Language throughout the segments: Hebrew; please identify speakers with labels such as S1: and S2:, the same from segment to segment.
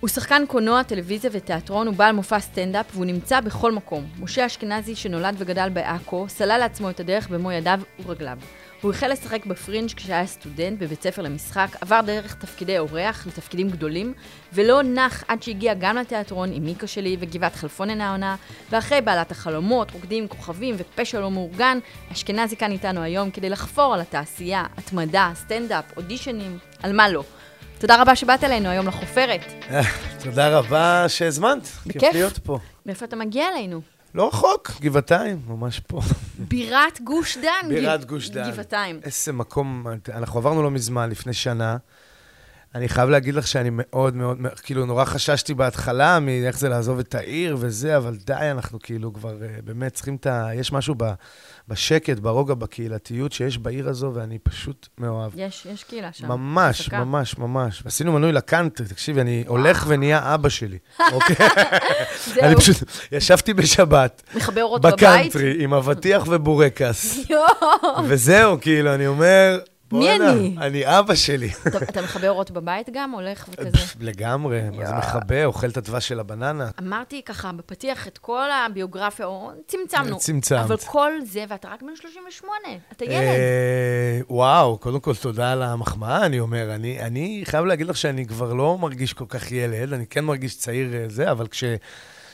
S1: הוא שחקן קולנוע, טלוויזיה ותיאטרון, הוא בעל מופע סטנדאפ והוא נמצא בכל מקום. משה אשכנזי, שנולד וגדל בעכו, סלל לעצמו את הדרך במו ידיו ורגליו. הוא החל לשחק בפרינג' כשהיה סטודנט בבית ספר למשחק, עבר דרך תפקידי אורח לתפקידים גדולים, ולא נח עד שהגיע גם לתיאטרון עם מיקה שלי וגבעת חלפונן העונה, ואחרי בעלת החלומות, רוקדים, כוכבים ופשע לא מאורגן, אשכנזי כאן איתנו היום כדי לחפור על התעשייה, התמדה, סטנדאפ, אודישנים, על מה לא. תודה רבה שבאת אלינו היום לחופרת.
S2: תודה רבה שהזמנת,
S1: בכיף.
S2: כיף להיות פה.
S1: מאיפה אתה מגיע אלינו?
S2: לא רחוק, גבעתיים, ממש פה.
S1: בירת גוש דן. גב-
S2: בירת גוש דן.
S1: גבעתיים.
S2: איזה מקום, אנחנו עברנו לא מזמן, לפני שנה. אני חייב להגיד לך שאני מאוד מאוד, כאילו, נורא חששתי בהתחלה מאיך זה לעזוב את העיר וזה, אבל די, אנחנו כאילו כבר אה, באמת צריכים את ה... יש משהו ב, בשקט, ברוגע, בקהילתיות שיש בעיר הזו, ואני פשוט מאוהב.
S1: יש, יש קהילה שם.
S2: ממש,
S1: חזקה.
S2: ממש, ממש. עשינו מנוי לקאנטרי, תקשיבי, אני הולך ונהיה אבא שלי, אוקיי? אני
S1: זהו,
S2: פשוט ישבתי בשבת,
S1: מכבה אורות בבית.
S2: בקאנטרי, עם אבטיח ובורקס.
S1: יואו.
S2: וזהו, כאילו, אני אומר,
S1: מי
S2: "בואנה,
S1: אני?"
S2: אני אבא שלי.
S1: אתה- אתה מכבה אורות בבית גם? הולך וכזה?
S2: לגמרי, מה זה מכבה, אוכל את הדבש של הבננה.
S1: אמרתי ככה בפתיח את כל הביוגרפיה, או צמצמנו.
S2: צמצמת.
S1: אבל כל זה, ואתה רק בן 38, אתה ילד.
S2: אה, וואו, קודם כל תודה על המחמאה, אני אומר. אני, אני חייב להגיד לך שאני כבר לא מרגיש כל כך ילד, אני כן מרגיש צעיר אה, זה, אבל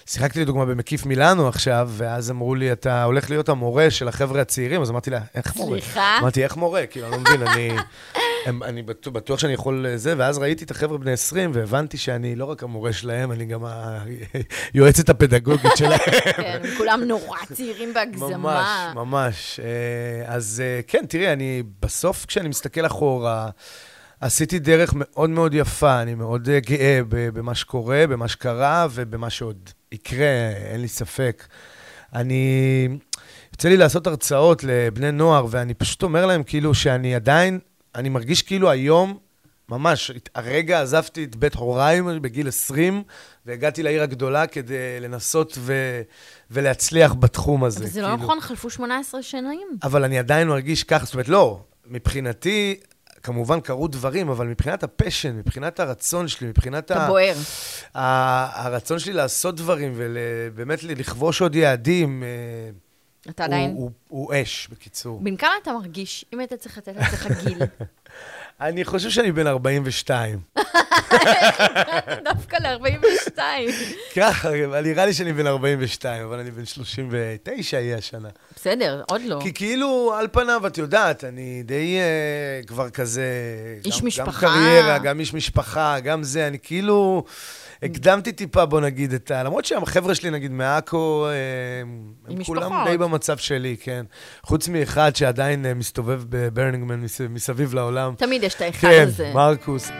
S2: כששיחקתי לדוגמה במקיף מילאנו עכשיו, ואז אמרו לי, אתה הולך להיות המורה של החבר'ה הצעירים, אז אמרתי לה, איך מורה?
S1: סליחה?
S2: אמרתי, איך מורה? כאילו, אני לא מבין, אני... הם, אני בטוח, בטוח שאני יכול אה, זה, ואז ראיתי את החבר'ה בני 20, והבנתי שאני לא רק המורה שלהם, אני גם היועצת הפדגוגית שלהם.
S1: כן, הם כולם נורא צעירים בהגזמה.
S2: ממש, ממש. אה, אז אה, כן, תראי, אני בסוף, כשאני מסתכל אחורה, עשיתי דרך מאוד מאוד יפה, אני מאוד אה, גאה ב- במה שקורה, במה שקרה ובמה שעוד יקרה, אין לי ספק. אני... יוצא לי לעשות הרצאות לבני נוער, ואני פשוט אומר להם כאילו שאני עדיין, אני מרגיש כאילו היום, ממש, הרגע עזבתי את בית הוריי בגיל 20, והגעתי לעיר הגדולה כדי לנסות ו... ולהצליח בתחום הזה.
S1: אבל זה לא
S2: כאילו.
S1: נכון, חלפו 18 שנים.
S2: אבל אני עדיין מרגיש ככה, זאת אומרת, לא, מבחינתי, כמובן קרו דברים, אבל מבחינת הפשן, מבחינת הרצון שלי, מבחינת
S1: אתה בוער.
S2: ה... הרצון שלי לעשות דברים ובאמת לכבוש עוד יעדים, אה,
S1: אתה עדיין...
S2: הוא, הוא, הוא אש, בקיצור.
S1: בן כמה אתה מרגיש, אם היית צריך לתת לעצמך גיל?
S2: אני חושב שאני בן 42.
S1: דווקא ל-42.
S2: ככה, אבל נראה לי שאני בן 42, אבל אני בן 39 יהיה השנה.
S1: בסדר, עוד לא.
S2: כי כאילו, על פניו, את יודעת, אני די אה, כבר כזה...
S1: איש
S2: גם,
S1: משפחה.
S2: גם קריירה, גם איש משפחה, גם זה, אני כאילו... הקדמתי טיפה, בוא נגיד, את ה... למרות שהחבר'ה שלי, נגיד, מעכו, אה, הם
S1: עם
S2: כולם
S1: משפחות.
S2: די במצב שלי, כן. חוץ מאחד שעדיין אה, מסתובב בברנינגמן מס- מסביב לעולם.
S1: תמיד יש את האחד
S2: כן,
S1: הזה.
S2: מרקוס.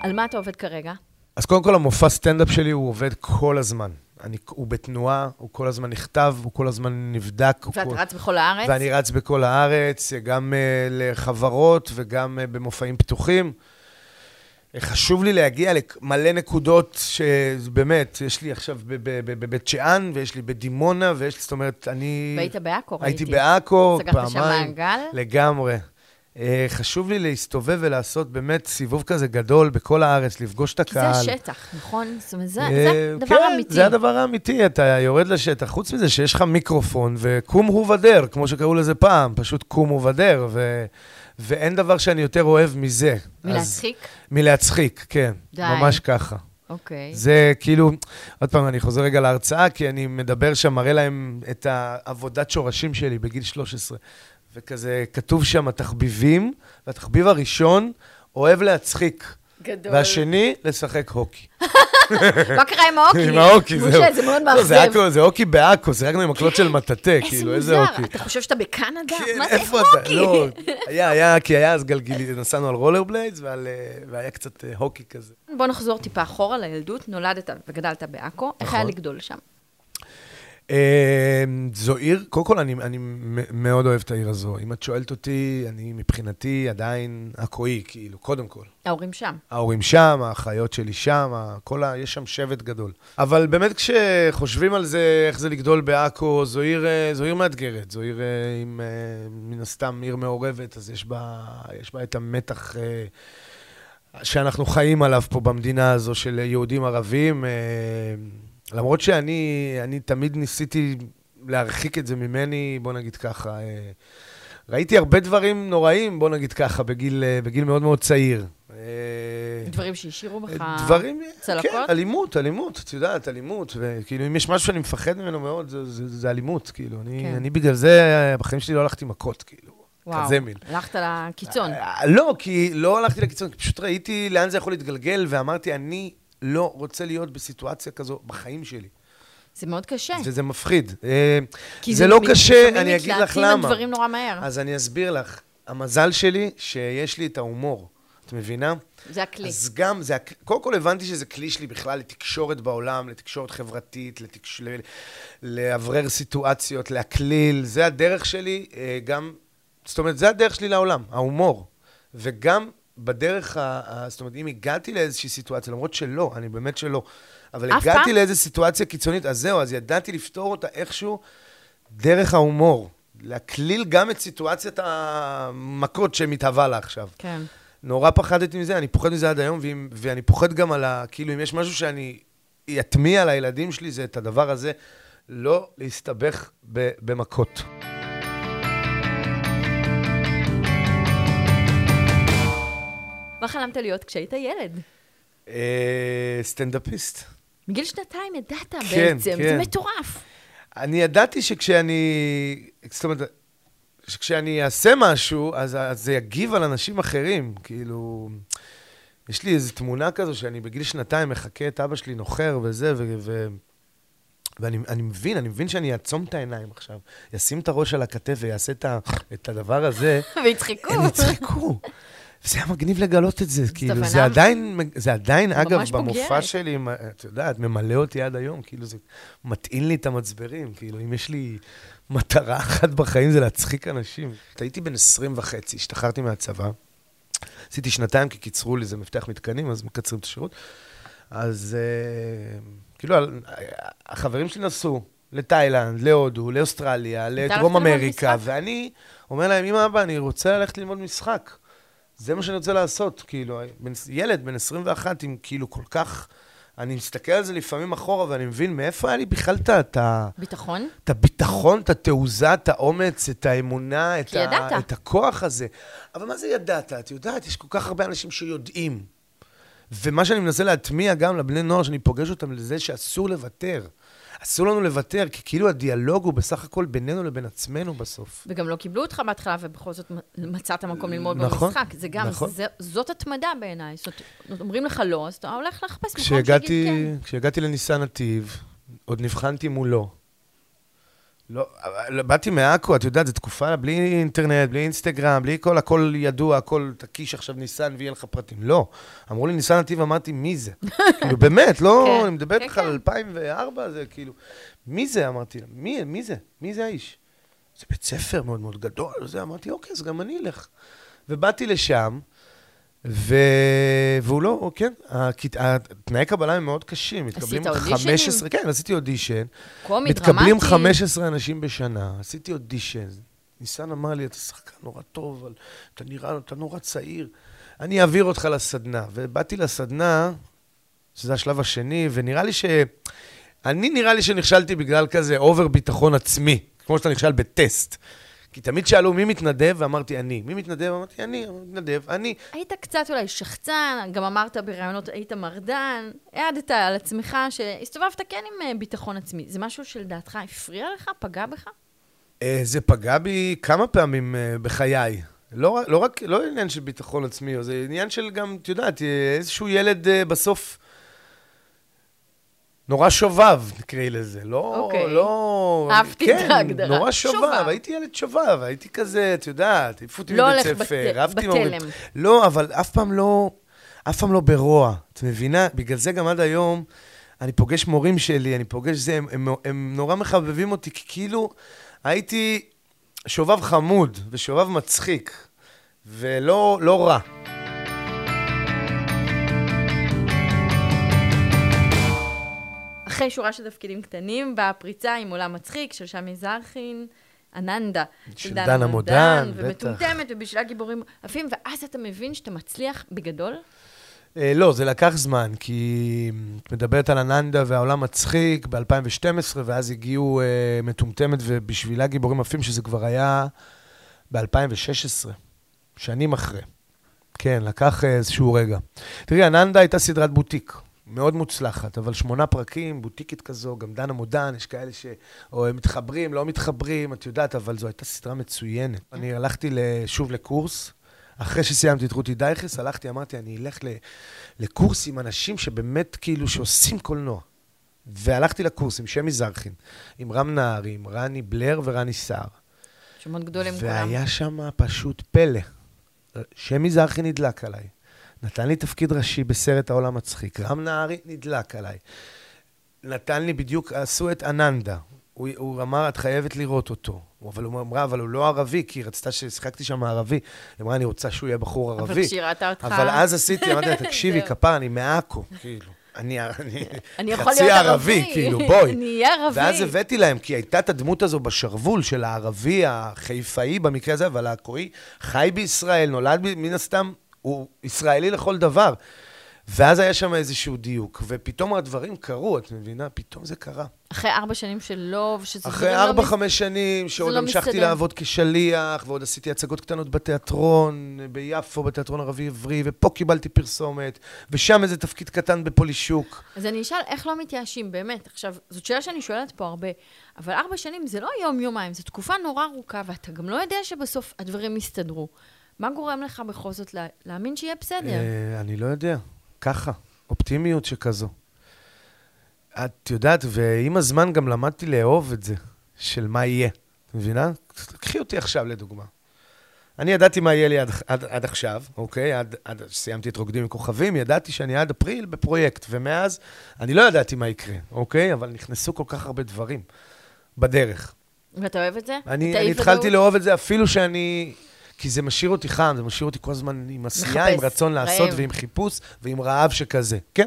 S1: על מה אתה עובד כרגע?
S2: אז קודם כל, המופע סטנדאפ שלי, הוא עובד כל הזמן. אני, הוא בתנועה, הוא כל הזמן נכתב, הוא כל הזמן נבדק. הוא
S1: ואתה
S2: כל...
S1: רץ בכל הארץ?
S2: ואני רץ בכל הארץ, גם אה, לחברות וגם אה, במופעים פתוחים. אה, חשוב לי להגיע למלא נקודות שבאמת, יש לי עכשיו ב- ב- ב- בבית שאן, ויש לי בדימונה, ויש לי, זאת אומרת, אני...
S1: והיית בעכו, ראיתי.
S2: הייתי בעכו,
S1: סגרת שם
S2: פעמיים.
S1: מעגל?
S2: לגמרי. אה, חשוב לי להסתובב ולעשות באמת סיבוב כזה גדול בכל הארץ, לפגוש את
S1: כי זה
S2: הקהל.
S1: השטח, נכון? זאת אומרת, זה
S2: אה,
S1: זה הדבר האמיתי.
S2: כן, זה הדבר האמיתי, אתה יורד לשטח. חוץ מזה שיש לך מיקרופון, וקום ובדר, כמו שקראו לזה פעם, פשוט קום ובדר, ו... ואין דבר שאני יותר אוהב מזה. אז...
S1: מלהצחיק?
S2: מלהצחיק, כן.
S1: די.
S2: ממש ככה.
S1: אוקיי.
S2: זה כאילו, עוד פעם, אני חוזר רגע להרצאה, כי אני מדבר שם, מראה להם את העבודת שורשים שלי בגיל 13. וכזה, כתוב שם התחביבים, והתחביב הראשון, אוהב להצחיק.
S3: גדול.
S2: והשני, לשחק הוקי.
S1: מה קרה עם האוקי?
S2: עם ההוקי, זהו.
S3: אוקיי. משה, זה מאוד
S2: לא,
S3: מאכזב.
S2: עכו- זה הוקי בעכו, שיחקנו עם מקלות של מטאטה, כאילו, איזה הוקי.
S3: אתה חושב שאתה בקנדה?
S2: כן,
S3: מה זה
S2: איפה אתה? לא, היה, היה, כי היה אז גלגילי, נסענו על רולר בליידס, ועל, אה, והיה קצת אה, הוקי כזה.
S1: בוא נחזור טיפה אחורה לילדות. נולדת וגדלת בעכו, איך
S2: נכון.
S1: היה לגדול שם?
S2: אה, זו עיר, קודם כל, אני, אני מ- מאוד אוהב את העיר הזו. אם את שואלת אותי, אני מבחינתי עדיין עכואי, כאילו, קודם כל.
S1: ההורים שם.
S2: ההורים שם, האחיות שלי שם, ה- כל ה... יש שם שבט גדול. אבל באמת כשחושבים על זה, איך זה לגדול בעכו, זו עיר, אה, זו עיר מאתגרת, זו עיר אה, עם, אה, מן הסתם, עיר מעורבת, אז יש בה, יש בה את המתח אה, שאנחנו חיים עליו פה במדינה הזו של יהודים ערבים. אה, למרות שאני אני תמיד ניסיתי להרחיק את זה ממני, בוא נגיד ככה. אה, ראיתי הרבה דברים נוראים, בוא נגיד ככה, בגיל, אה, בגיל מאוד מאוד צעיר. אה,
S1: דברים שהשאירו בך...
S2: דברים,
S1: צלקות?
S2: כן, אלימות, אלימות, את יודעת, אלימות. וכאילו, אם יש משהו שאני מפחד ממנו מאוד, זה, זה, זה אלימות, כאילו. אני,
S1: כן.
S2: כן. אני בגלל זה, בחיים שלי לא הלכתי מכות, כאילו.
S1: וואו,
S2: כזה מין.
S1: הלכת לקיצון.
S2: אה, לא, כי לא הלכתי לקיצון, כי פשוט ראיתי לאן זה יכול להתגלגל, ואמרתי, אני לא רוצה להיות בסיטואציה כזו בחיים שלי.
S1: זה מאוד קשה.
S2: וזה מפחיד. אה,
S1: כי
S2: זה לא
S1: מת-
S2: קשה,
S1: לפעמים
S2: אני אגיד לך
S1: מתלהטים
S2: למה.
S1: הדברים נורא מהר.
S2: אז אני אסביר לך. המזל שלי, שיש לי את ההומור. את מבינה?
S1: זה הכלי.
S2: אז גם, זה, הק- קודם כל הבנתי שזה כלי שלי בכלל לתקשורת בעולם, לתקשורת חברתית, לתקש... ל- לאוורר סיטואציות, להקליל, זה הדרך שלי אה, גם, זאת אומרת, זה הדרך שלי לעולם, ההומור. וגם בדרך, ה... ה- זאת אומרת, אם הגעתי לאיזושהי סיטואציה, למרות שלא, אני באמת שלא, אבל
S1: אף
S2: הגעתי
S1: פעם?
S2: לאיזו סיטואציה קיצונית, אז זהו, אז ידעתי לפתור אותה איכשהו דרך ההומור. להקליל גם את סיטואציית המכות שמתהווה לה עכשיו.
S1: כן.
S2: נורא פחדתי מזה, אני פוחד מזה עד היום, ואם, ואני פוחד גם על ה... כאילו, אם יש משהו שאני אטמיע לילדים שלי, זה את הדבר הזה, לא להסתבך ב, במכות.
S1: מה חלמת להיות כשהיית ילד?
S2: אה, סטנדאפיסט.
S1: מגיל שנתיים ידעת
S2: כן,
S1: בעצם, זה
S2: כן.
S1: מטורף.
S2: אני ידעתי שכשאני... זאת אומרת, שכשאני אעשה משהו, אז, אז זה יגיב על אנשים אחרים. כאילו, יש לי איזו תמונה כזו שאני בגיל שנתיים מחכה את אבא שלי נוחר וזה, ו... ו ואני אני מבין, אני מבין שאני אעצום את העיניים עכשיו, אשים את הראש על הכתף ויעשה את, ה, את הדבר הזה,
S1: והצחקו.
S2: הם יצחקו. זה היה מגניב לגלות את זה, כאילו,
S1: הבנה.
S2: זה עדיין, זה עדיין, אגב,
S1: ממש
S2: במופע
S1: בוגרת.
S2: שלי, מה- את יודעת, ממלא אותי עד היום, כאילו, זה מטעין לי את המצברים, כאילו, אם יש לי מטרה אחת בחיים זה להצחיק אנשים. הייתי בן 20 וחצי, השתחררתי מהצבא, עשיתי שנתיים כי קיצרו לי, זה מפתח מתקנים, אז מקצרים את השירות. אז אה, כאילו, על- החברים שלי נסעו לתאילנד, להודו, לאוסטרליה,
S1: הלכת
S2: לדרום
S1: ללמוד
S2: אמריקה,
S1: משחק?
S2: ואני אומר להם, אמא, אבא, אני רוצה ללכת ללמוד משחק. זה מה שאני רוצה לעשות, כאילו, בן, ילד בן 21 עם כאילו כל כך... אני מסתכל על זה לפעמים אחורה, ואני מבין מאיפה היה לי בכלל את ה- את ה...
S1: ביטחון?
S2: את הביטחון, את התעוזה, את האומץ, את האמונה, את,
S1: כי ידעת.
S2: ה... את הכוח הזה. אבל מה זה ידעת? את יודעת, יש כל כך הרבה אנשים שיודעים. ומה שאני מנסה להטמיע גם לבני נוער, שאני פוגש אותם לזה שאסור לוותר. אסור לנו לוותר, כי כאילו הדיאלוג הוא בסך הכל בינינו לבין עצמנו בסוף.
S1: וגם לא קיבלו אותך בהתחלה, ובכל זאת מצאת מקום ללמוד
S2: נכון,
S1: במשחק. זה גם,
S2: נכון.
S1: זה- זאת התמדה בעיניי. זאת אומרת, אומרים לך לא, אז אתה הולך לחפש מקום שיגיד
S2: כשהגעתי,
S1: כן.
S2: כשהגעתי לניסן נתיב, עוד נבחנתי מולו. לא, אבל באתי מעכו, את יודעת, זו תקופה בלי אינטרנט, בלי אינסטגרם, בלי כל, הכל ידוע, הכל תקיש עכשיו ניסן ויהיה לך פרטים. לא. אמרו לי ניסן נתיב, אמרתי, מי זה? כאילו, באמת, לא,
S1: כן,
S2: אני מדבר
S1: כן,
S2: איתך על
S1: כן.
S2: 2004, זה כאילו, מי זה? אמרתי לה, מי, מי זה? מי זה האיש? זה בית ספר מאוד מאוד גדול, זה, אמרתי, אוקיי, אז גם אני אלך. ובאתי לשם, ו... והוא לא, הוא כן, הכת... התנאי קבלה הם מאוד קשים. מתקבלים
S1: אודישנים?
S2: 15, כן, עשיתי אודישן.
S1: קומי,
S2: מתקבלים
S1: דרמטי.
S2: 15 אנשים בשנה, עשיתי אודישן. ניסן אמר לי, אתה שחקן נורא טוב, אבל אתה נראה, אתה נורא צעיר. אני אעביר אותך לסדנה. ובאתי לסדנה, שזה השלב השני, ונראה לי ש... אני נראה לי שנכשלתי בגלל כזה אובר ביטחון עצמי, כמו שאתה נכשל בטסט. כי תמיד שאלו מי מתנדב, ואמרתי אני. מי מתנדב? אמרתי אני, מתנדב, אני.
S1: היית קצת אולי שחצן, גם אמרת בראיונות, היית מרדן, העדת על עצמך שהסתובבת כן עם אה, ביטחון עצמי. זה משהו שלדעתך הפריע לך? פגע בך?
S2: אה, זה פגע בי כמה פעמים אה, בחיי. לא, לא רק, לא עניין של ביטחון עצמי, זה עניין של גם, את יודעת, איזשהו ילד אה, בסוף נורא שובב, נקראי לזה. לא,
S1: אוקיי.
S2: לא...
S1: אהבתי את ההגדרה.
S2: כן, נורא שובב.
S1: שובב.
S2: הייתי ילד שובב, הייתי כזה, את יודעת, העיפו אותי
S1: לא
S2: מבית
S1: הולך
S2: ספר,
S1: בת-
S2: אהבתי
S1: בתלם.
S2: מהמורים. לא, אבל אף פעם לא, אף פעם לא ברוע. את מבינה? בגלל זה גם עד היום, אני פוגש מורים שלי, אני פוגש זה, הם, הם, הם נורא מחבבים אותי, כי כאילו הייתי שובב חמוד ושובב מצחיק, ולא לא רע.
S1: אחרי שורה של תפקידים קטנים, באה הפריצה עם עולם מצחיק של שמי זרחין, אננדה.
S2: של דנה מודן, בטח.
S1: ומטומטמת, ובשבילה גיבורים עפים, ואז אתה מבין שאתה מצליח בגדול?
S2: אה, לא, זה לקח זמן, כי את מדברת על אננדה והעולם מצחיק ב-2012, ואז הגיעו אה, מטומטמת ובשבילה גיבורים עפים, שזה כבר היה ב-2016, שנים אחרי. כן, לקח אה, איזשהו רגע. תראי, אננדה הייתה סדרת בוטיק, מאוד מוצלחת, אבל שמונה פרקים, בוטיקית כזו, גם דנה מודן, יש כאלה שמתחברים, לא מתחברים, את יודעת, אבל זו הייתה סדרה מצוינת. אני הלכתי ל- שוב לקורס, אחרי שסיימתי את רותי דייכס, הלכתי, אמרתי, אני אלך ל- לקורס עם אנשים שבאמת, כאילו, שעושים קולנוע. והלכתי לקורס עם שמי זרחין, עם רם נהרי, עם רני בלר ורני סער.
S1: שמות גדולים כולם.
S2: והיה שם פשוט פלא. שמי זרחי נדלק עליי. נתן לי תפקיד ראשי בסרט העולם מצחיק. רם נהרי נדלק עליי. נתן לי בדיוק, עשו את אננדה. הוא, הוא אמר, את חייבת לראות אותו. הוא- אבל הוא אמרה, אבל הוא לא ערבי, כי היא רצתה ששיחקתי שם ערבי. היא אמרה, אני רוצה שהוא יהיה בחור ערבי.
S1: אבל כשהיא ראתה אותך...
S2: אבל אז עשיתי, אמרתי לה, תקשיבי,
S1: זהו.
S2: כפר, אני מעכו, כאילו. אני, אני,
S1: אני יכול
S2: חצי
S1: להיות
S2: ערבי,
S1: ערבי.
S2: כאילו, בואי.
S1: אני אהיה ערבי.
S2: ואז הבאתי להם, כי הייתה את הדמות הזו בשרוול של הערבי החיפאי במקרה הזה, אבל הכהי חי בישראל, נולד ב- מן הסתם, הוא ישראלי לכל דבר. ואז היה שם איזשהו דיוק, ופתאום הדברים קרו, את מבינה? פתאום זה קרה.
S1: אחרי ארבע שנים של לוב, שזה
S2: אחרי
S1: דברים לא
S2: ארבע,
S1: מס-
S2: חמש שנים, שעוד
S1: לא
S2: המשכתי
S1: מסתדר.
S2: לעבוד כשליח, ועוד עשיתי הצגות קטנות בתיאטרון, ביפו, בתיאטרון ערבי-עברי, ופה קיבלתי פרסומת, ושם איזה תפקיד קטן בפולישוק.
S1: אז אני אשאל, איך לא מתייאשים, באמת? עכשיו, זאת שאלה שאני שואלת פה הרבה, אבל ארבע שנים זה לא יום-יומיים, זו תקופה נורא ארוכה, ואתה גם לא יודע שבסוף הדברים יסתדרו. מה גורם לך בכל זאת לה, להאמין שיהיה בסדר?
S2: אה, אני לא יודע, ככה, אופטימיות שכזו. את יודעת, ועם הזמן גם למדתי לאהוב את זה, של מה יהיה. את מבינה? קחי אותי עכשיו לדוגמה. אני ידעתי מה יהיה לי עד, עד, עד עכשיו, אוקיי? עד, עד שסיימתי את רוקדים עם כוכבים, ידעתי שאני עד אפריל בפרויקט, ומאז אני לא ידעתי מה יקרה, אוקיי? אבל נכנסו כל כך הרבה דברים בדרך.
S1: ואתה אוהב את זה? את
S2: אני, אני
S1: האי-ודאות?
S2: התחלתי לאהוב את זה אפילו שאני... כי זה משאיר אותי חם, זה משאיר אותי כל הזמן עם עשייה, עם
S1: מחפש,
S2: רצון לעשות,
S1: רעב.
S2: ועם חיפוש, ועם רעב שכזה. כן.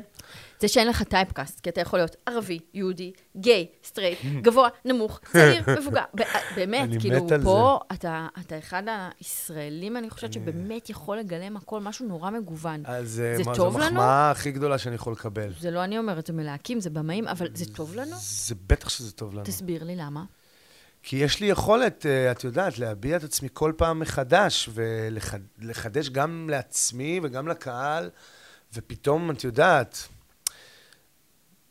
S1: זה שאין לך טייפקאסט, כי אתה יכול להיות ערבי, יהודי, גיי, סטרייט, גבוה, נמוך, צעיר, מבוגר. ב- באמת,
S2: אני
S1: כאילו,
S2: מת על
S1: פה אתה, אתה אחד הישראלים, אני חושבת, שבאמת יכול לגלם הכל, משהו נורא מגוון.
S2: אז אה,
S1: זה
S2: מה,
S1: טוב
S2: זו
S1: לנו?
S2: המחמאה הכי גדולה שאני יכול לקבל.
S1: זה לא אני אומרת, זה מלהקים, זה במאים, אבל זה טוב לנו?
S2: זה בטח שזה טוב לנו.
S1: תסביר לי למה.
S2: כי יש לי יכולת, אה, את יודעת, להביע את עצמי כל פעם מחדש, ולחדש גם לעצמי וגם לקהל, ופתאום, את יודעת,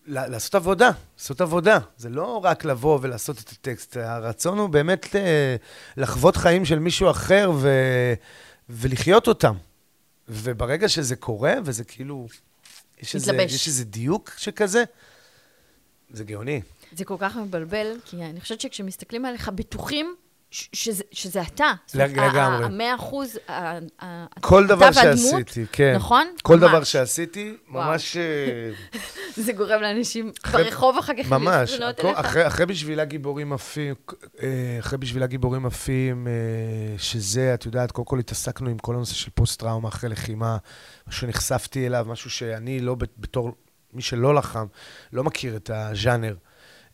S2: ל- לעשות עבודה, לעשות עבודה. זה לא רק לבוא ולעשות את הטקסט, הרצון הוא באמת אה, לחוות חיים של מישהו אחר ו... ולחיות אותם. וברגע שזה קורה, וזה כאילו, יש איזה,
S1: מתלבש.
S2: יש איזה דיוק שכזה, זה גאוני.
S1: זה כל כך מבלבל, כי אני חושבת שכשמסתכלים עליך בטוחים ש- שזה, שזה אתה. זאת אומרת,
S2: לג- לגמרי.
S1: ה- המאה אחוז, ה- ה-
S2: כל
S1: אתה
S2: דבר
S1: והדמות,
S2: שעשיתי, כן.
S1: נכון?
S2: כל
S1: ממש.
S2: דבר שעשיתי,
S1: וואו.
S2: ממש... אה,
S1: זה גורם לאנשים ברחוב אחר כך
S2: ממש.
S1: להתלונות
S2: הכל-
S1: אליך.
S2: אחרי- אחרי בשבילה גיבורים עפים, אה, אחרי בשבילה גיבורים עפים, אה, שזה, את יודעת, קודם כל התעסקנו עם כל הנושא של פוסט-טראומה אחרי לחימה, משהו שנחשפתי אליו, משהו שאני לא, בת- בתור מי שלא לחם, לא מכיר את הז'אנר.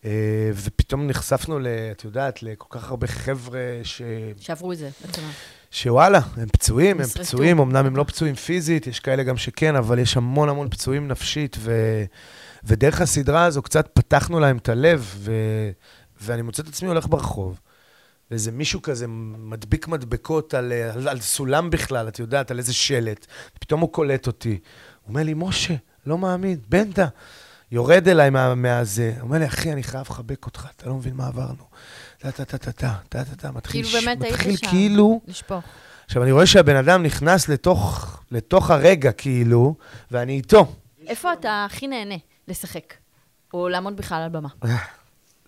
S2: אה, ופתאום נחשפנו, ל- את יודעת, לכל כך הרבה חבר'ה ש...
S1: שעברו את זה, בעצם.
S2: שוואלה, הם פצועים, הם
S1: נשרטו.
S2: פצועים, אמנם הם לא פצועים פיזית, יש כאלה גם שכן, אבל יש המון המון פצועים נפשית, ו... ודרך הסדרה הזו קצת פתחנו להם את הלב, ו... ואני מוצא את עצמי הולך ברחוב, ואיזה מישהו כזה מדביק מדבקות על, אה, על, על סולם בכלל, את יודעת, על איזה שלט, פתאום הוא קולט אותי. הוא אומר לי, משה, לא מאמין, בנדה. יורד אליי מה, מהזה, אומר לי, אחי, אני חייב לחבק אותך, אתה לא מבין מה עברנו. טה-טה-טה-טה, טה-טה-טה, מתחיל,
S1: כאילו באמת היית
S2: מתחיל
S1: שם.
S2: כאילו...
S1: לשפוך.
S2: עכשיו, אני רואה שהבן אדם נכנס לתוך, לתוך הרגע, כאילו, ואני איתו.
S1: איפה אתה הכי נהנה לשחק? או לעמוד בכלל על במה?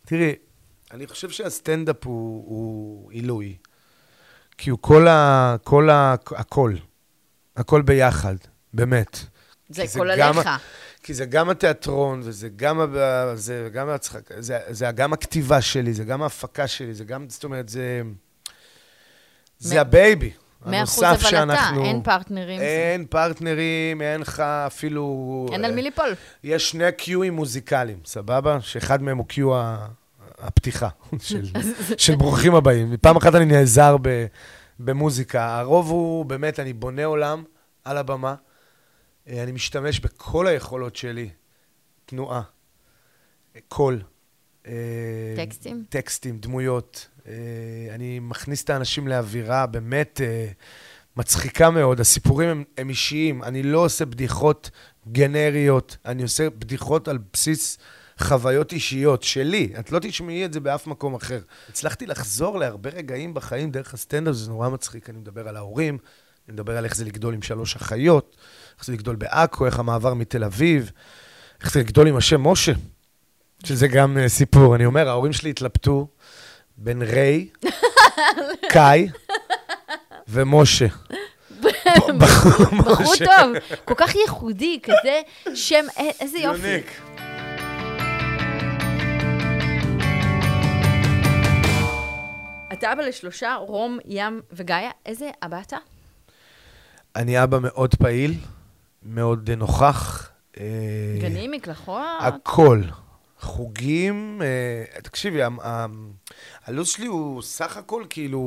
S2: תראי, אני חושב שהסטנדאפ הוא, הוא עילוי. כי הוא כל ה... כל ה... הכל. הכל ביחד, באמת.
S1: זה
S2: כי
S1: כל
S2: גם-
S1: עליך.
S2: כי זה גם התיאטרון, וזה גם, ה- זה, גם, הצחק, זה, זה גם הכתיבה שלי, זה גם ההפקה שלי, זה גם, זאת אומרת, זה... זה
S1: מאה-
S2: הבייבי.
S1: מאה אחוז,
S2: הנוסף
S1: אבל אתה,
S2: שאנחנו- אה,
S1: אין פרטנרים.
S2: אין פרטנרים, אין לך אפילו... אה,
S1: אין על מי ליפול.
S2: יש שני קיואים מוזיקליים, סבבה? שאחד מהם הוא קיו ה- הפתיחה של, של ברוכים הבאים. פעם אחת אני נעזר ב, במוזיקה. הרוב הוא, באמת, אני בונה עולם על הבמה. אה, אני משתמש בכל היכולות שלי. תנועה, אה, קול. אה,
S1: טקסטים?
S2: טקסטים, דמויות. אה, אני מכניס את האנשים לאווירה באמת אה, מצחיקה מאוד. הסיפורים הם, הם אישיים. אני לא עושה בדיחות גנריות, אני עושה בדיחות על בסיס חוויות אישיות שלי. את לא תשמעי את זה באף מקום אחר. הצלחתי לחזור להרבה רגעים בחיים דרך הסטנדאפ, זה נורא מצחיק. אני מדבר על ההורים, אני מדבר על איך זה לגדול עם שלוש אחיות, איך זה לגדול בעכו, איך המעבר מתל אביב, איך זה לגדול עם השם משה. שזה גם אה, סיפור. אני אומר, ההורים שלי התלבטו בין ריי, קאי ומשה.
S1: בחור טוב, כל כך ייחודי, כזה שם, א- איזה יופי.
S2: יוניק.
S1: אתה אבא לשלושה, רום, ים וגיא, איזה אבא אתה?
S2: אה. אני אבא מאוד פעיל, מאוד אה, נוכח. אה,
S1: גנים, מקלחות?
S2: הכל. חוגים, אה, תקשיבי, המ- המ- הלו"ז שלי הוא סך הכל כאילו,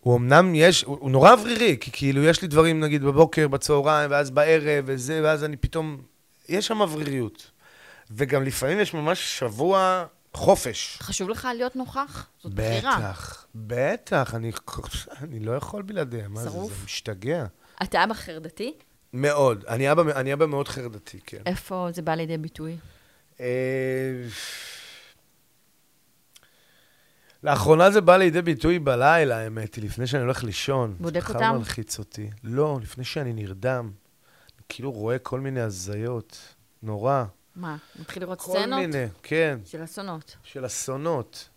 S2: הוא אמנם יש, הוא, הוא נורא אוורירי, כי כאילו יש לי דברים נגיד בבוקר, בצהריים, ואז בערב וזה, ואז אני פתאום, יש שם אווריריות. וגם לפעמים יש ממש שבוע חופש.
S1: חשוב לך להיות נוכח? זאת בחירה.
S2: בטח, בטח, אני, אני לא יכול בלעדיהם, מה זה, זה
S1: שרוף.
S2: משתגע.
S1: אתה אבא חרדתי?
S2: מאוד, אני אבא, אני אבא מאוד חרדתי, כן.
S1: איפה זה בא לידי ביטוי?
S2: אה, לאחרונה זה בא לידי ביטוי בלילה, האמת היא, לפני שאני הולך לישון.
S1: בודק
S2: זה
S1: אותם?
S2: בכלל מלחיץ אותי. לא, לפני שאני נרדם, אני כאילו רואה כל מיני הזיות. נורא.
S1: מה, מתחיל לראות
S2: כל
S1: סצנות?
S2: מיני, כן,
S1: של אסונות.
S2: של אסונות.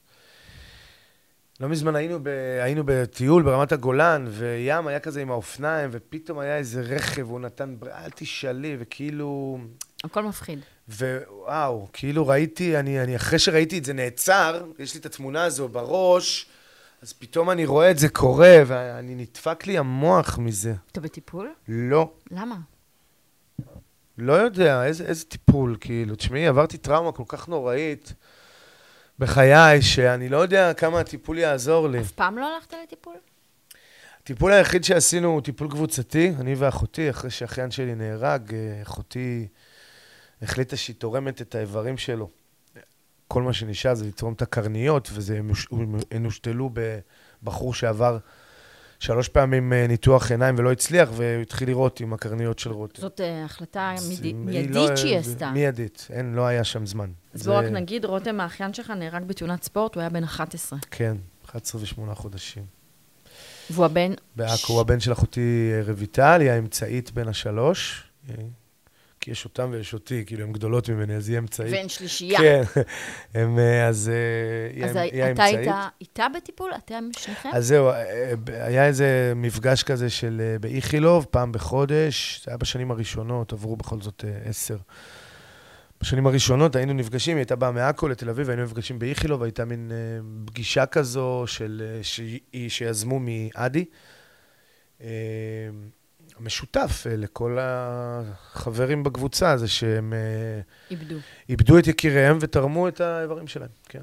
S2: לא מזמן היינו, ב... היינו בטיול ברמת הגולן, וים היה כזה עם האופניים, ופתאום היה איזה רכב, הוא נתן, בר- אל תשאלי, וכאילו,
S1: הכל מפחיד.
S2: ווואו, כאילו ראיתי, אני, אני אחרי שראיתי את זה נעצר, יש לי את התמונה הזו בראש, אז פתאום אני רואה את זה קורה, ואני נדפק לי המוח מזה.
S1: אתה בטיפול?
S2: לא,
S1: למה?
S2: לא יודע, איזה, איזה טיפול, כאילו. תשמעי, עברתי טראומה כל כך נוראית בחיי, שאני לא יודע כמה הטיפול יעזור לי.
S1: אף פעם לא הלכת לטיפול?
S2: הטיפול היחיד שעשינו הוא טיפול קבוצתי, אני ואחותי, אחרי שאחיין שלי נהרג, אה, אחותי החליטה שהיא תורמת את האיברים שלו. כל מה שנשאר זה לתרום את הקרניות, וזה מוש- הם נושתלו בבחור שעבר שלוש פעמים אה, ניתוח עיניים ולא הצליח, והוא התחיל לראות עם הקרניות של רותם.
S1: זאת אה, החלטה
S2: כן. אז
S1: מידי-
S2: היא
S1: מיידית
S2: לא-
S1: שהיא עשתה.
S2: מיידית, אין, לא היה שם זמן.
S1: אז
S2: זה-
S1: בואו רק נגיד, רותם, האחיין שלך נהרג בתאונת ספורט, הוא היה בן 11.
S2: כן, 11 ושמונה חודשים.
S1: והוא הבן... ש-
S2: בעכו, הוא הבן של אחותי אה, רויטל, היא האמצעית בין השלוש. אה, כי יש אותם ויש אותי, כאילו, הן גדולות ממני, אז היא אמצעית.
S1: בן שלישייה.
S2: כן, הם, אה, אז אה, היא
S1: אז
S2: האמ- היא
S1: אתה
S2: האמצעית.
S1: היית איתה בטיפול? אתם שניכם?
S2: אז זהו, אה, ב- היה איזה מפגש כזה של אה, באיכילוב, פעם בחודש, זה היה בשנים הראשונות, עברו בכל זאת אה, עשר. בשנים הראשונות היינו נפגשים, היא הייתה באה מעכו לתל אביב, היינו נפגשים באיכילוב, הייתה מין אה, פגישה כזו של, אה, שהיא- שיזמו מעדי. אה, המשותף אה, לכל החברים בקבוצה זה שהם אה,
S1: איבדו.
S2: איבדו את יקיריהם ותרמו את האיברים שלהם, כן.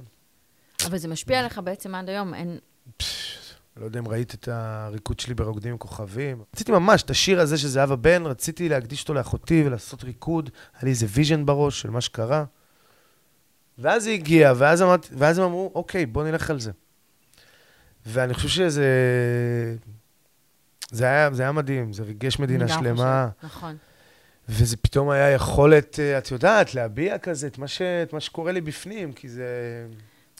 S1: אבל זה משפיע עליך בעצם עד היום, אין...
S2: פשש, לא יודע אם ראית את הריקוד שלי ברוקדים עם כוכבים. רציתי ממש את השיר הזה של זהבה בן, רציתי להקדיש אותו לאחותי ולעשות ריקוד. היה לי איזה ויז'ן בראש של מה שקרה. ואז היא הגיעה, ואז, אמרת, ואז הם אמרו, אוקיי, בוא נלך על זה. ואני חושב שזה... זה היה, זה היה מדהים, זה ריגש מדינה
S1: גם
S2: שלמה.
S1: חושבת, נכון.
S2: וזה פתאום היה יכולת, אה, את יודעת, להביע כזה את מה, ש, את מה שקורה לי בפנים, כי זה,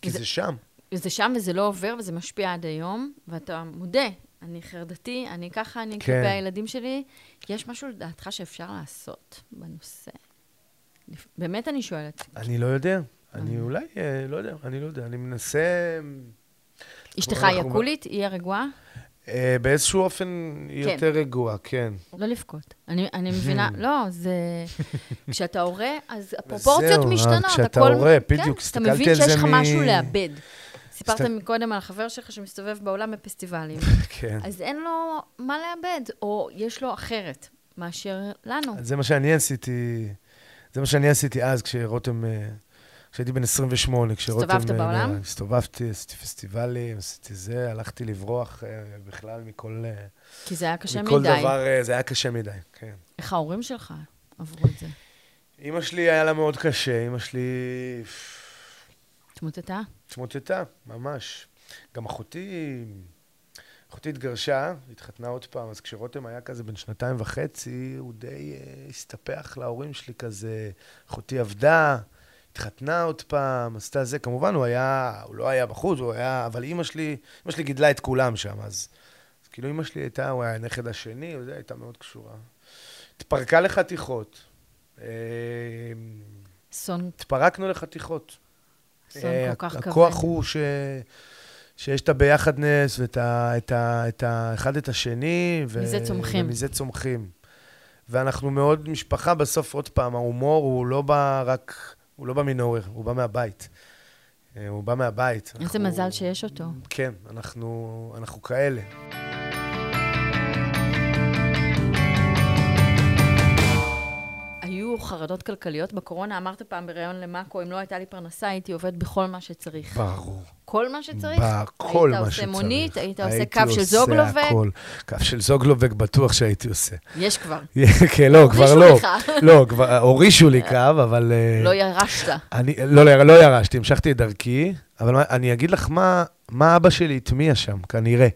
S2: כי
S1: זה-
S2: זה שם.
S1: זה שם וזה לא עובר וזה משפיע עד היום, ואתה מודה אני חרדתי, אני ככה, אני
S2: כן.
S1: כלפי הילדים שלי. יש משהו לדעתך שאפשר לעשות בנושא? לפ- באמת אני שואלת.
S2: אני לא יודע. אני אולי, אה, לא יודע, אני לא יודע. אני מנסה...
S1: אשתך
S2: אנחנו-
S1: היא הקולית? היא הרגועה?
S2: אה, באיזשהו אופן היא
S1: כן.
S2: יותר רגועה, כן.
S1: לא לבכות. אני, אני מבינה,
S2: Hmm.
S1: לא, זה... כשאתה הורה, אז הפרופורציות
S2: זהו,
S1: משתנות.
S2: כשאתה
S1: הכל-
S2: הורה, בדיוק,
S1: כן,
S2: הסתכלתי
S1: אתה מבין
S2: על זה
S1: שיש לך
S2: מ-
S1: משהו לאבד. סיפרת
S2: הסת-
S1: מקודם על החבר שלך שמסתובב בעולם בפסטיבלים,
S2: כן.
S1: אז אין לו מה לאבד, או יש לו אחרת מאשר לנו.
S2: זה מה שאני עשיתי, זה מה שאני עשיתי אז, כשרותם, אה, כשהייתי בן 28, כשרותם...
S1: הסתובבת
S2: אה,
S1: בעולם?
S2: נהרג. הסתובבתי, עשיתי פסטיבלים, עשיתי זה, הלכתי לברוח אה, בכלל מכל... אה,
S1: כי זה היה קשה
S2: מכל
S1: מדי.
S2: דבר, אה, זה היה קשה מדי, כן.
S1: איך ההורים שלך עברו את זה?
S2: אימא שלי היה לה מאוד קשה, אימא שלי
S1: התמוטטה?
S2: התמוטטה, ממש. גם אחותי, אחותי התגרשה, התחתנה עוד פעם, אז כשרותם היה כזה בן שנתיים וחצי, הוא די אה, הסתפח להורים שלי כזה, אחותי עבדה, התחתנה עוד פעם, עשתה זה. כמובן, הוא היה, הוא לא היה בחוץ, הוא היה, אבל אימא שלי, אימא שלי גידלה את כולם שם, אז... אז כאילו אימא שלי הייתה, הוא היה הנכד השני, וזה, הייתה מאוד קשורה. התפרקה לחתיכות. אה,
S1: אסון,
S2: התפרקנו לחתיכות.
S1: אסון
S2: אה,
S1: כל כך כבד.
S2: הכוח הוא ש... שיש את הביחדנס ואת ה... את ה... את ה... אחד את השני. ו...
S1: מזה צומחים.
S2: ומזה צומחים. ואנחנו מאוד משפחה, בסוף עוד פעם, ההומור הוא לא בא רק, הוא לא בא מנוהר, הוא בא מהבית. אה, הוא בא מהבית.
S1: איזה מזל שיש אותו.
S2: כן, אנחנו, אנחנו כאלה.
S1: היו חרדות כלכליות בקורונה, אמרת פעם בריאיון למאקו, אם לא הייתה לי פרנסה, הייתי עובד בכל מה שצריך.
S2: ברור.
S1: כל מה שצריך?
S2: בכל מה
S1: היית
S2: שצריך.
S1: עושה מונית, היית עושה
S2: הייתי
S1: קו של
S2: עושה
S1: זוגלובק,
S2: הכל. קו של זוגלובק בטוח שהייתי עושה.
S1: יש כבר.
S2: כן, לא, כבר לא.
S1: לך.
S2: לא, כבר הורישו לי קו, אבל... אה,
S1: לא ירשת.
S2: אני לא, לא, לא ירשתי, המשכתי את דרכי, אבל מה, אני אגיד לך מה, מה אבא שלי הטמיע שם, כנראה.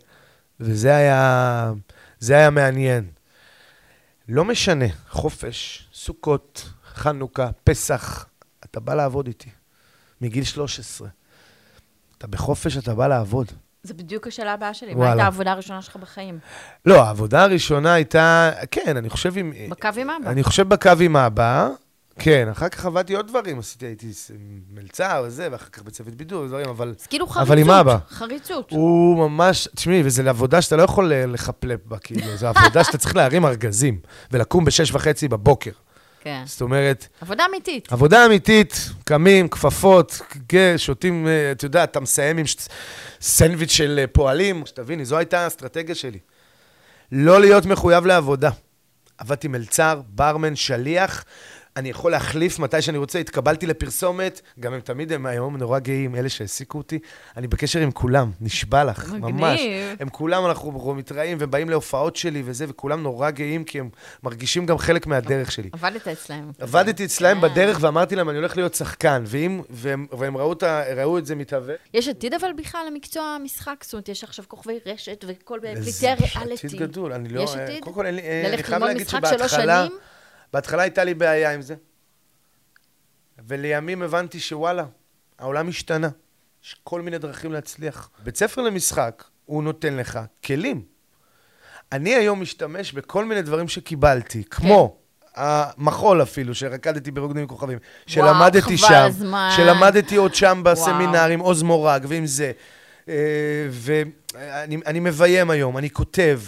S2: וזה היה, זה היה מעניין. לא משנה, חופש, סוכות, חנוכה, פסח, אתה בא לעבוד איתי, מגיל 13. אתה בחופש, אתה בא לעבוד.
S1: זה בדיוק השאלה הבאה שלי. מה
S2: וואלה.
S1: הייתה העבודה הראשונה שלך בחיים?
S2: לא, העבודה הראשונה הייתה, כן, אני חושב עם...
S1: בקו עם אבא.
S2: אני חושב בקו עם אבא, כן, אחר כך עבדתי עוד דברים, עשיתי, הייתי ס- מלצר וזה, ואחר כך בצוות בידור ודברים, אבל...
S1: אז כאילו חריצות.
S2: אבל עם אבא.
S1: חריצות.
S2: הוא ממש, תשמעי, וזו עבודה שאתה לא יכול אה, לחפלפ בה, כאילו, זו עבודה שאתה צריך להרים ארגזים ולקום בשש וחצי בבוקר.
S1: כן.
S2: זאת אומרת,
S1: עבודה אמיתית.
S2: עבודה אמיתית, קמים, כפפות, כן, שותים, אה, אתה יודע, אתה מסיים עם ש- סנדוויץ' של אה, פועלים, שתביני, זו הייתה האסטרטגיה שלי. לא להיות מחויב לעבודה. עבדתי מלצר, ברמן, שליח, אני יכול להחליף מתי שאני רוצה, התקבלתי לפרסומת, גם הם תמיד, הם היום נורא גאים, אלה שהעסיקו אותי. אני בקשר עם כולם, נשבע לך,
S1: מגניב.
S2: ממש. הם כולם, אנחנו מתראים, והם באים להופעות שלי וזה, וכולם נורא גאים, כי הם מרגישים גם חלק מהדרך שלי.
S1: עבדת אצלהם.
S2: עבדתי אצלהם
S1: אה.
S2: בדרך ואמרתי להם, אני הולך להיות שחקן. ואם, והם, והם ראו, את ה, ראו את זה מתהווה.
S1: יש עתיד אבל בכלל למקצוע המשחק, זאת אומרת, יש עכשיו כוכבי רשת וכל פליטי
S2: זה
S1: הריאליטי.
S2: עתיד גדול, אני לא...
S1: יש
S2: אה,
S1: עתיד?
S2: קודם כל, אין לי- אה, אני
S1: ללכת
S2: חייב
S1: ללמוד
S2: להגיד
S1: משחק שלוש
S2: שבהתחלה...
S1: שנים?
S2: בהתחלה הייתה לי בעיה עם זה. ולימים הבנתי שוואלה, העולם השתנה. יש כל מיני דרכים להצליח. בית ספר למשחק, הוא נותן לך כלים. אני היום משתמש בכל מיני דברים שקיבלתי,
S1: כן.
S2: כמו המחול אפילו, שרקדתי ברוקדים עם כוכבים, שלמדתי
S1: חבל
S2: שם,
S1: הזמן.
S2: שלמדתי עוד שם
S1: וואו.
S2: בסמינר עם עוז מורג ועם זה. אה, ואני מביים היום, אני כותב,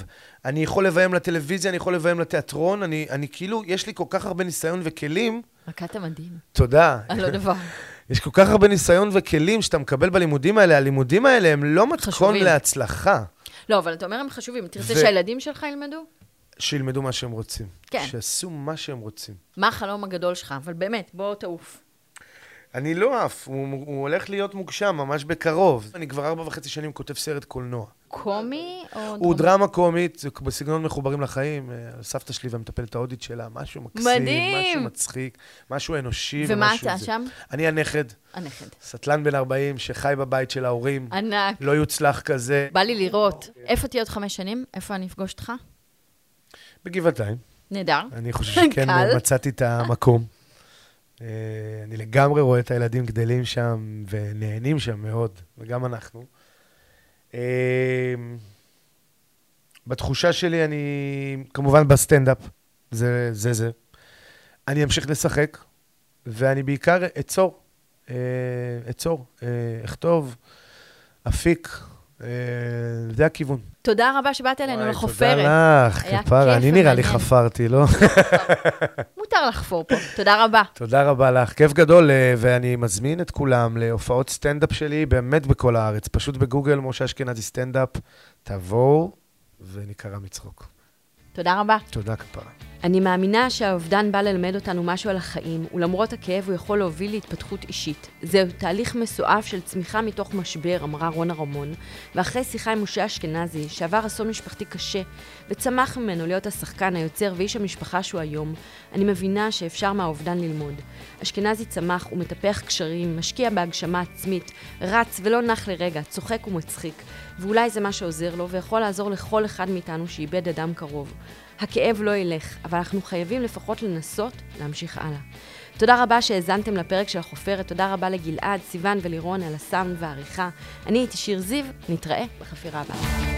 S2: אני יכול לביים לטלוויזיה, אני יכול לביים לתיאטרון, אני, אני כאילו, יש לי כל כך הרבה ניסיון וכלים,
S1: רקדת מדהים,
S2: תודה.
S1: על לא דבר.
S2: יש כל כך הרבה ניסיון וכלים שאתה מקבל בלימודים האלה, הלימודים האלה הם לא מתכון
S1: חשובים.
S2: להצלחה.
S1: לא, אבל אתה אומר הם חשובים. תרצה
S2: ו-
S1: שהילדים שלך ילמדו?
S2: שילמדו מה שהם רוצים.
S1: כן.
S2: שיעשו מה שהם רוצים.
S1: מה החלום הגדול שלך? אבל באמת, בוא תעוף.
S2: אני לא עף, הוא, הוא הולך להיות מוגשם ממש בקרוב. אני כבר ארבע וחצי שנים כותב סרט קולנוע.
S1: קומי או...
S2: הוא
S1: דרמה?
S2: דרמה קומית, זה בסגנון מחוברים לחיים, אה, על סבתא שלי והמטפלת ההודית שלה, משהו מקסים,
S1: מדהים.
S2: משהו מצחיק, משהו אנושי
S1: ומה
S2: ומשהו
S1: אתה
S2: זה.
S1: שם?
S2: אני הנכד,
S1: הנכד.
S2: סטלן בן 40, שחי בבית של ההורים,
S1: ענק.
S2: לא יוצלח כזה,
S1: בא לי לראות.
S2: אוקיי.
S1: איפה תהיה עוד חמש שנים? איפה אני אפגוש אותך?
S2: בגבעתיים.
S1: נהדר.
S2: אני חושב שכן
S1: קל.
S2: אה, מצאתי את המקום. אה, אני לגמרי רואה את הילדים גדלים שם ונהנים שם מאוד, וגם אנחנו. אה, בתחושה שלי אני, כמובן בסטנדאפ, זה זה. זה. אני אמשיך לשחק, ואני בעיקר אצור, אה, אצור, אה, אכתוב, אפיק, אה, זה הכיוון.
S4: תודה רבה שבאת אלינו
S2: וואי,
S4: לחופרת.
S2: תודה לך,
S4: היה
S2: כפרה.
S4: כיף
S2: אני נראה לי
S4: ומעניין.
S2: חפרתי, לא?
S4: מותר לחפור פה. תודה רבה.
S2: תודה רבה לך, כיף גדול, אה, ואני מזמין את כולם להופעות סטנדאפ שלי באמת בכל הארץ. פשוט בגוגל, משה אשכנזי סטנדאפ, תבואו וניקרע מצחוק.
S4: תודה רבה.
S2: תודה, כפרה.
S4: אני מאמינה שהאובדן בא ללמד אותנו משהו על החיים, ולמרות הכאב הוא יכול להוביל להתפתחות אישית. זהו תהליך מסועף של צמיחה מתוך משבר, אמרה רונה רמון, ואחרי שיחה עם משה אשכנזי, שעבר אסון משפחתי קשה, וצמח ממנו להיות השחקן, היוצר ואיש המשפחה שהוא היום, אני מבינה שאפשר מהאובדן ללמוד. אשכנזי צמח, הוא מטפח קשרים, משקיע בהגשמה עצמית, רץ ולא נח לרגע, צוחק ומצחיק, ואולי זה מה שעוזר לו ויכול לעזור לכל אחד מאיתנו שאיבד אדם קרוב. הכאב לא ילך, אבל אנחנו חייבים לפחות לנסות להמשיך הלאה. תודה רבה שהאזנתם לפרק של החופרת, תודה רבה לגלעד, סיון ולירון על הסאונד והעריכה. אני הייתי שיר זיו, נתראה בחפירה הבאה.